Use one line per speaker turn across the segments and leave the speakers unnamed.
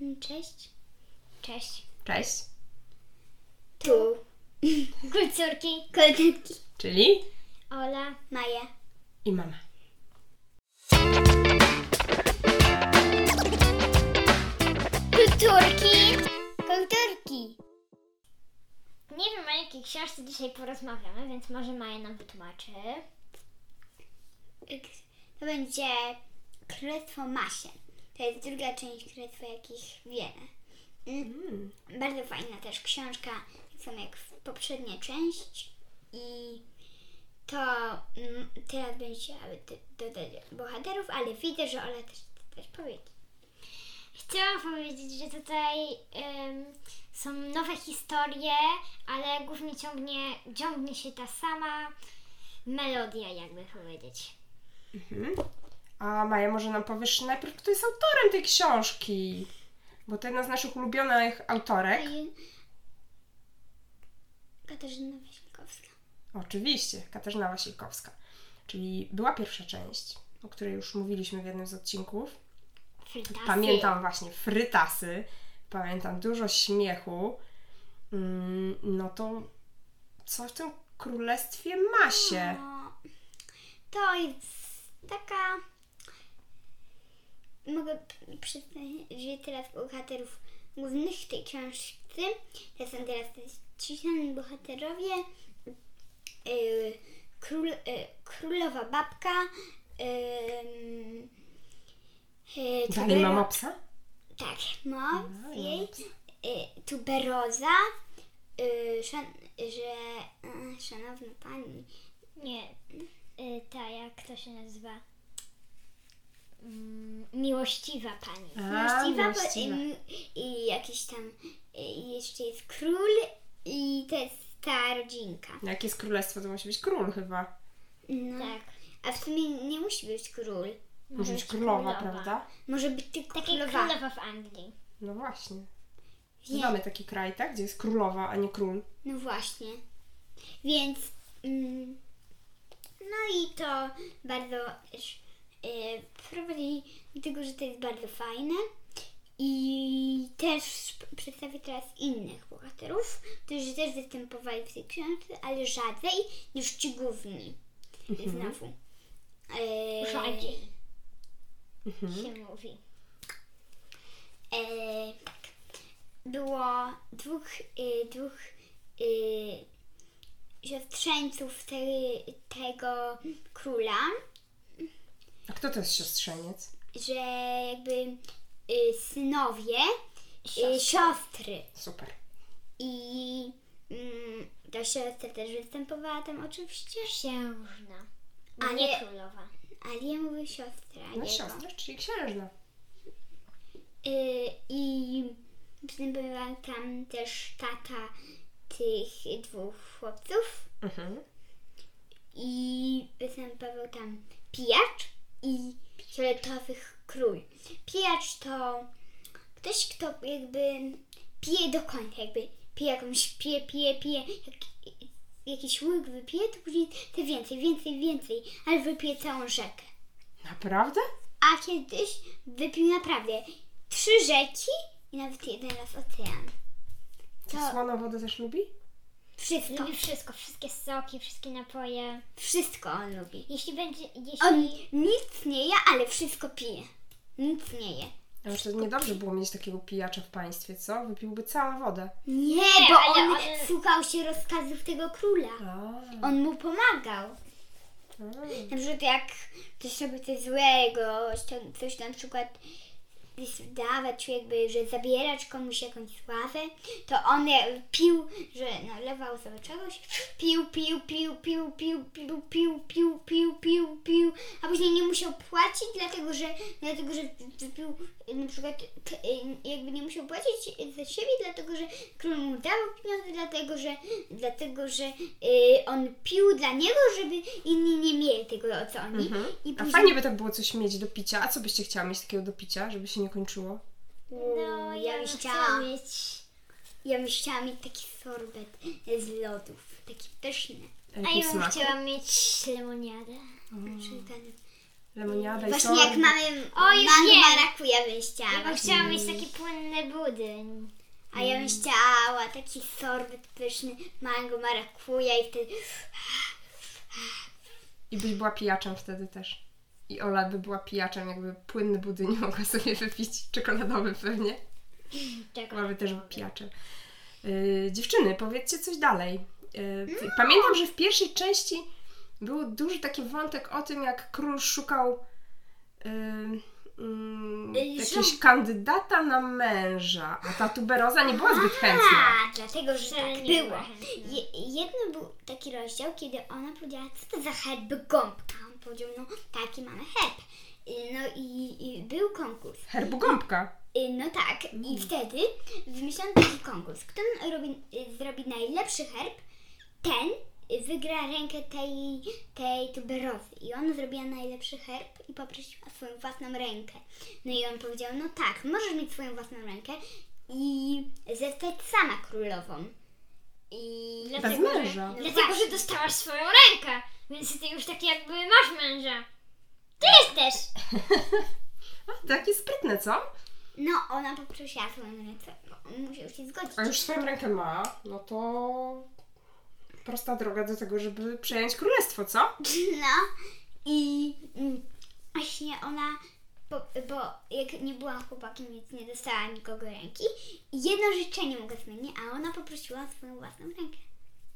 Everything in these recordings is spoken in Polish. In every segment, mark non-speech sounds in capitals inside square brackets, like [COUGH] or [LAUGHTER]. Mm, Cześć.
Cześć.
Cześć.
[LAUGHS]
Tu.
Kulcurki,
Koleżanki.
Czyli
Ola,
Maja.
i mama.
kulturki.
Kołdorki.
Nie wiem, o jakiej książce dzisiaj porozmawiamy, więc może Maja nam wytłumaczy.
To będzie Królestwo Masien. To jest druga część Królestwa Jakich Wiele. Mm. Bardzo fajna też książka, tak samo jak w poprzednia część. I to mm, teraz będzie chciałaby do- dodać bohaterów, ale widzę, że Ola też chce też powiedzieć.
Chciałam powiedzieć, że tutaj em, są nowe historie, ale głównie ciągnie, ciągnie się ta sama melodia, jakby powiedzieć.
A Maja, może nam powiesz najpierw, kto jest autorem tej książki? Bo to jedna z naszych ulubionych autorek.
Katarzyna Wasilkowska.
Oczywiście, Katarzyna Wasilkowska. Czyli była pierwsza część, o której już mówiliśmy w jednym z odcinków.
Frytasy.
Pamiętam właśnie frytasy, pamiętam dużo śmiechu. Mm, No to co w tym królestwie ma się?
No, to jest taka. Mogę p- przedstawić że teraz bohaterów głównych w tej książce. To są teraz ci sami bohaterowie. Yy, król, yy, królowa babka. Yy, yy,
Dalej
Tubero-
mama psa?
Tak, moc
Dalej mama
jej.
psa.
Y, tuberoza. Yy, szan, że. y, szanowna pani.
Nie, y, ta jak to się nazywa? Mm, miłościwa pani.
A,
Właściwa, y,
właściwa.
i jakiś tam y, jeszcze jest król i to jest ta rodzinka.
No, Jak jest królestwo, to musi być król chyba.
No.
Mhm.
Tak.
A w sumie nie musi być król.
Musi być królowa, prawda?
Może być tylko
Taka
królowa.
królowa w Anglii.
No właśnie.
Nie.
Mamy taki kraj, tak? Gdzie jest królowa, a nie król.
No właśnie. Więc mm, no i to bardzo też, y, prowadzi do tego, że to jest bardzo fajne. I też p- przedstawię teraz innych bohaterów, którzy też występowali w tej książce, ale rzadziej niż ci główni. Znowu.
Y,
E,
Rzadziej się mówi.
E, tak. Było dwóch, y, dwóch y, siostrzeńców te, tego króla,
A kto to jest siostrzeniec?
że jakby y, synowie
Siostry.
y, siostry.
Super.
I mm, ta siostra też występowała tam oczywiście,
Księżna.
A
A nie,
nie-
królowa.
ale ja mówię siostra.
No
jego.
siostra, czyli księżna.
Y, I występował tam też tata tych dwóch chłopców.
Mhm.
i występował tam pijacz i fioletowy król. Pijacz to ktoś, kto jakby pije do końca, jakby pije jakąś, pije, pije, pije, jak, jakiś łyk wypije, to później te więcej, więcej, więcej, ale wypije całą rzekę.
Naprawdę?
A kiedyś wypił naprawdę trzy rzeki i nawet jeden raz ocean.
To
To-
słono wodę też lubi?
Wszystko,
Lubi wszystko, wszystkie soki, wszystkie napoje.
wszystko on lubi.
Jeśli będzie, jeśli...
On nic nie je, ale wszystko pije. Nic nie je.
A już to niedobrze było mieć takiego pijacza w państwie, co? Wypiłby całą wodę.
Nie,
Nie,
bo
ale
on
on-
słuchał się rozkazów tego króla.
A,
On mu pomagał.
mm.
Na przykład jak ktoś robi coś złego, to- coś na przykład dawać, czy jakby, że zabierać komuś jakąś sławę, to on je- pił, że nalewał sobie czegoś, pił, pił, pił, pił, pił, pił, pił, pił, pił, pił, pił, a później nie musiał płacić, dlatego że, dlatego, że wypił y, na przykład, k- y, jakby nie musiał płacić za siebie, dlatego że król mu dawał pieniądze, dlatego że, dlatego że y, on pił dla niego, żeby inni nie mieli tego, co oni. I
A fajnie by tak było coś mieć do picia. A co byście chciały mieć takiego do picia, żeby się nie kończyło?
No, ja bym
chcę
chciała.
mieć...
Ja bym chciała mieć taki sorbet z lodów, taki pyszny,
A ja bym
Smak.
chciała mieć lemoniadę.
czyli ten
Lemoniada i
Właśnie
sola.
jak mamy
O, już wiem.
mango marakuja bym
Ja
chciała.
bym chciała mieć taki płynny budyń.
A ja bym chciała taki sorbet pyszny, mango marakuja i wtedy...
I byś była pijaczem wtedy też. I Ola by była pijaczem, jakby płynny budyń [LAUGHS] mogła sobie wypić, czekoladowy pewnie.
Czego?
Mamy też pijacze. Yy, dziewczyny, powiedzcie coś dalej. Yy, p- Pamiętam, że w pierwszej części był duży taki wątek o tym, jak król szukał yy, yy,
Yy,
jakiegoś kandydata na męża, a ta tuberoza nie była zbyt chętna.
A, dlatego, że tak
nie
było.
była chętna.
Je, jedno był taki rozdział, kiedy ona powiedziała, co to za herby gąbka. On powiedział, no taki mamy herb. Y, No i, i był konkurs.
Herbogąbka.
Y, No tak, i wtedy wymyślono taki konkurs. Kto robi, y, zrobi najlepszy herb, ten y, wygra rękę tej, tej tuberozy. I ona zrobiła najlepszy herb i poprosiła o swoją własną rękę. No i on powiedział, no tak, możesz mieć swoją własną rękę i zostać sama królową. I
Bez męża.
No
Dlatego,
właśnie.
że dostałaś swoją rękę, więc ty już tak jakby masz męża. Ty jesteś!
A, takie sprytne, co?
No, ona poprosiła swoją rękę. No, on musiał się zgodzić.
A już swoją rękę ma, no to prosta droga do tego, żeby przejąć królestwo, co?
No i mm, właśnie ona, bo, bo jak nie była chłopakiem, więc nie dostała nikogo ręki. I jedno życzenie mogła zmienić, a ona poprosiła o swoją własną rękę.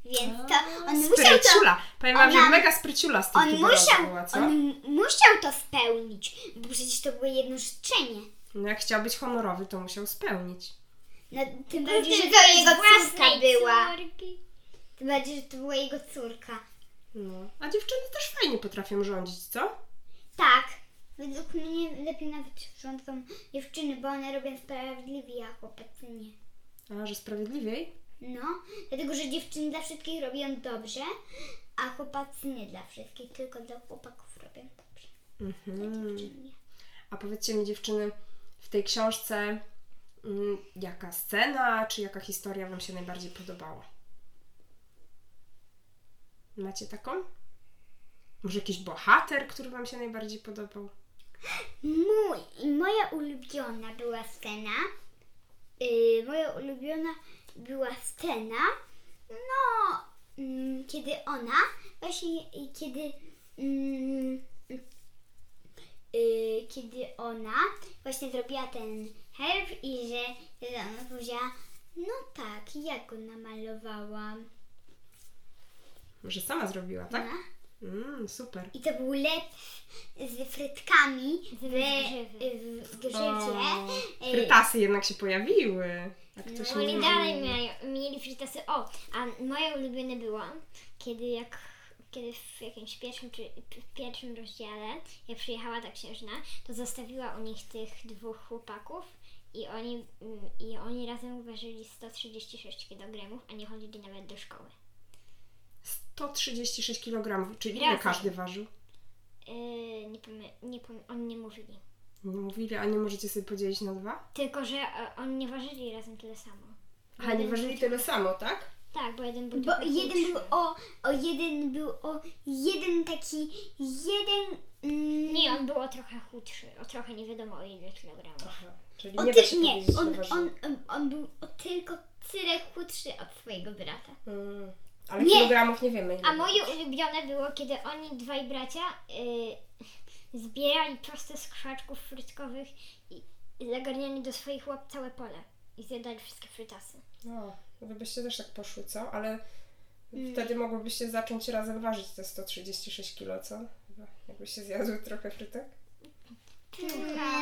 Więc to on musiał to.
Spryciula. Powiem wam,
ona-
że mega spryciula z tych
On
tuberozów
musiał,
była, co?
on musiał to spełnić, bo przecież to było jedno życzenie.
No jak chciał być honorowy, to musiał spełnić.
No, tym bardziej, że to jego córka była.
Córki.
Tym bardziej, że to była jego córka.
No. A dziewczyny też fajnie potrafią rządzić, co?
Tak. Według mnie lepiej nawet rządzą dziewczyny, bo one robią sprawiedliwie, a chłopacy nie.
A, że sprawiedliwiej?
No, dlatego że dziewczyny dla wszystkich robią dobrze, a chłopacy nie dla wszystkich, tylko dla chłopaków robią dobrze.
Mhm.
Dziewczyny nie.
A powiedzcie mi dziewczyny, w tej książce mm, jaka scena, czy jaka historia wam się najbardziej podobała? Macie taką? Może jakiś bohater, który wam się najbardziej podobał?
Mój, i moja ulubiona była scena. Yy, moja ulubiona była scena, no, mm, kiedy ona, właśnie y, kiedy, mm, y, kiedy ona właśnie zrobiła ten herb i że że ona powiedziała, no tak, ja go namalowałam.
Może sama zrobiła, tak?
No.
Mm, super.
I to był lep z frytkami w,
grzywy.
w grzywie.
No.
Y,
Frytasy jednak się pojawiły. Jak
No,
ktoś nie
Oni
wie.
dalej mieli, mieli fritasy. O, a moje ulubione było, kiedy jak kiedy w jakimś pierwszym, czy, w pierwszym rozdziale, jak przyjechała ta księżna, to zostawiła u nich tych dwóch chłopaków i oni, mm, i oni razem ważyli 136 kg, a nie chodzili nawet do szkoły.
136 kg, czyli ile
Razem.
każdy ważył?
Yy, nie pamię- nie pamię- oni nie mówili.
Nie No, mówili, a nie możecie sobie podzielić na dwa?
Tylko, że e, oni nie ważyli razem tyle samo.
A
No.
nie ważyli tyle samo, tak?
Tak, bo jeden był
Bo
tylko
jeden
krótszy.
był o, o jeden był o jeden taki jeden mm,
Nie, on był o trochę chudszy, o trochę nie wiadomo o ile kilogramów.
Czyli
o
nie da
ty,
się
nie
podzielić na
on,
waży-
on, on, on był o tylko tyle chudszy od swojego brata.
Mm, Ale
Nie.
kilogramów nie wiemy. ile.
A moje ulubione było, kiedy oni dwaj bracia y, zbierali prosto z krzaczków frytkowych i i zagarniali do swoich łap całe pole i zjadali wszystkie frytasy.
No, gdybyście też tak poszły, co? Ale wtedy mogłybyście zacząć razem ważyć te 136 kg, co? Chyba, Jakbyście zjadły trochę frytek?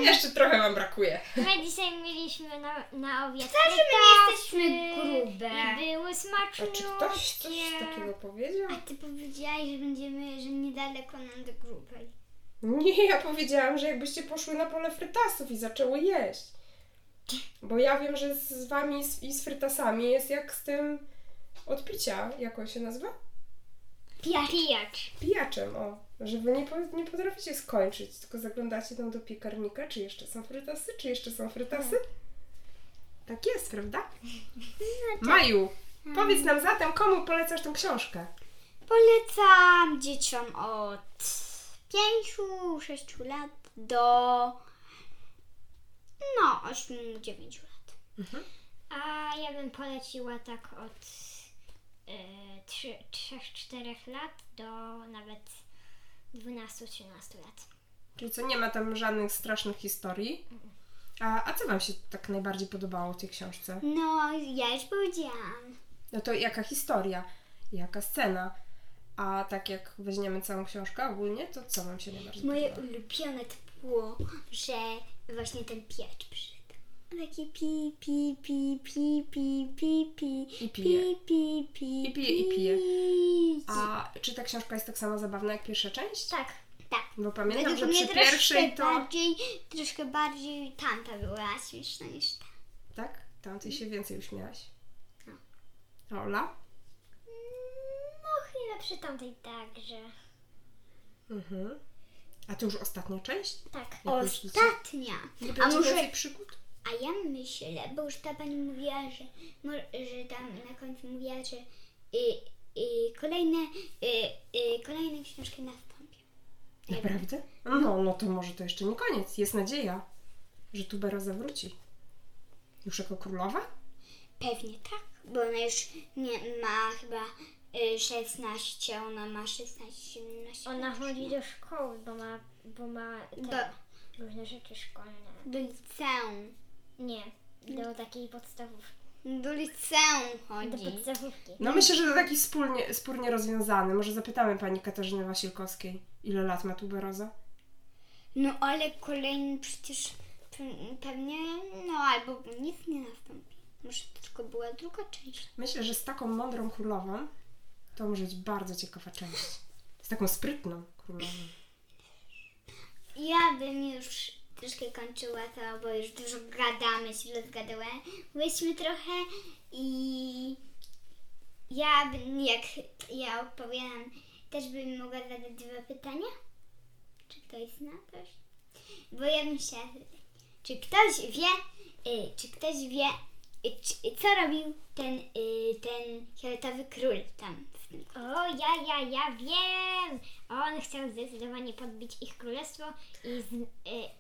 Jeszcze trochę wam brakuje.
My dzisiaj mieliśmy na, na obiad
Że my nie jesteśmy grube.
i były
A czy ktoś coś
smaczniutkie.
takiego powiedział?
A ty powiedziałaś, że będziemy, że niedaleko nam do grubej.
Nie, ja powiedziałam, że jakbyście poszły na pole frytasów i zaczęły jeść. Bo ja wiem, że z z wami z- i z frytasami jest jak z tym odpicia, jak on się nazywa?
Pijak.
Pijacz.
Pijaczem, o. no. Że wy nie, po, nie potraficie skończyć, tylko zaglądacie tam do piekarnika, czy jeszcze są frytasy, czy jeszcze są frytasy. No, Tak jest, prawda? tak. Maju, powiedz nam zatem, komu polecasz tą książkę?
Polecam dzieciom od pięciu, sześciu lat do no ośmiu, dziewięciu lat.
A ja bym poleciła tak od y, 3-4 lat do nawet 12-13 lat.
Czyli co, nie ma tam żadnych strasznych historii. A, a co Wam się tak najbardziej podobało w tej książce?
No, ja już powiedziałam.
No to jaka historia, jaka scena? A tak jak weźmiemy całą książkę ogólnie, to co Wam się najbardziej
Moje
podobało?
ulubione to było, że właśnie ten piecz przyszedł. On Taki pi, pi, pi, pi, pi, pi, pi,
I pije.
pi, pi, pi,
I pije, i pije.
pi.
A czy ta książka jest tak samo zabawna jak pierwsza część?
Tak.
Tak.
Bo pamiętam, że
Według
przy
mnie troszkę
pierwszej to...
bardziej, troszkę bardziej tamta była śmieszna niż ta.
Tak? Tam Ty
Mhm.
się więcej uśmiałaś. A Ola?
No chwilę przy tamtej także.
Mhm. A to już ostatnia część?
Tak.
Jak myślicie?
Ostatnia.
Nie
A
będzie
może,
więcej przygód?
a ja myślę, bo już ta pani mówiła, że, mo- że tam na końcu mówiła, że y, y, kolejne, y, y, kolejne książki nastąpią. Nie wiem.
Naprawdę? No, no to może to jeszcze nie koniec. Jest nadzieja, że Tubera zawróci. Już jako królowa?
Pewnie tak, bo ona już nie ma chyba y, 16, ona ma 16, 17.
Ona chodzi do szkoły, bo ma, bo ma te różne rzeczy szkolne.
do liceum.
Nie, do takiej podstawówki.
Do liceum
Do
chodzi.
podstawówki.
No myślę, że to taki spólnie, spórnie rozwiązany. Może zapytamy pani Katarzyny Wasilkowskiej, ile lat ma tuberoza?
No ale kolejny przecież pe- pewnie, no albo nic nie nastąpi. Może to tylko była druga część.
Myślę, że z taką mądrą królową to może być bardzo ciekawa część. Z taką sprytną królową.
Ja bym już troszkę kończyła to, bo już dużo gadamy, się rozgadałyśmy trochę i ja bym, jak ja opowiadam, też bym mogła zadać dwa pytania. Czy ktoś zna coś? Bo ja bym chciała zapytać, czy ktoś wie, y, czy ktoś wie, y, czy, co robił ten, y, ten fioletowy król tam w tym
O, ja, ja, ja wiem! On chciał zdecydowanie podbić ich królestwo i, z, y,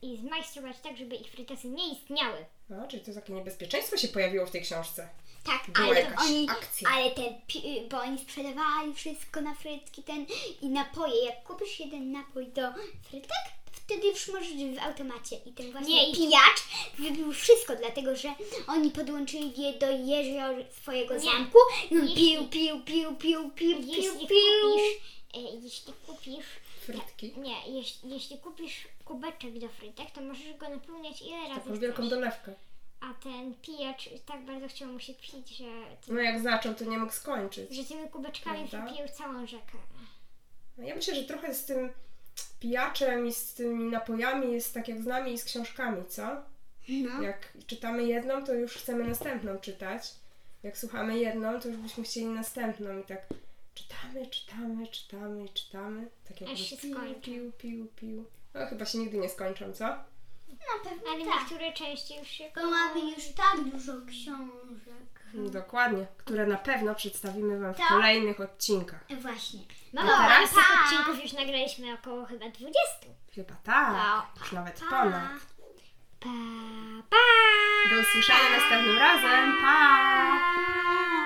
i zmajstrować tak, żeby ich frytasy nie istniały.
No, czyli to takie niebezpieczeństwo się pojawiło w tej książce.
Tak,
Była
ale
jakaś
oni,
akcja.
ale ten, pi- bo oni sprzedawali wszystko na frytki ten i napoje. Jak kupisz jeden napój do frytek, to wtedy już możesz w automacie. I ten właśnie
Nie, i-
pijacz wybił wszystko, dlatego że oni podłączyli je do jezior swojego
Nie.
zamku i on
Jeśli-
pił, pił, pił, pił, pił, pił,
Jeśli
pił.
kupisz, y, jeśli kupisz,
Frytki.
nie, jeśli, jeśli kupisz kubeczek do frytek, to możesz go napełniać ile razy
Taką wielką
chcesz.
dolewkę.
A ten pijacz tak bardzo chciał mu się pić, że,
No jak zaczął, to nie mógł skończyć.
że tymi kubeczkami
Prawda?
wypił całą rzekę.
No Ja myślę, że trochę z tym pijaczem i z tymi napojami jest tak jak z nami i z książkami, co?
No.
Jak czytamy jedną, to już chcemy następną czytać. Jak słuchamy jedną, to już byśmy chcieli następną i tak czytamy, czytamy, czytamy i czytamy. Tak jak
Aż się skończy.
pił, pił, pił. No chyba się nigdy nie skończą, co?
Na pewno
Ale
tak.
niektóre części już się...
Bo mamy już tak dużo książek.
Dokładnie. Które na pewno przedstawimy Wam w
Tak.
kolejnych odcinkach.
Właśnie.
Mamy
No,
parę
teraz-
tych odcinków, już nagraliśmy około chyba 20.
Chyba tak.
Tak.
Już nawet
Pa.
ponad.
Pa, pa!
Do usłyszenia następnym razem. Pa!
Pa.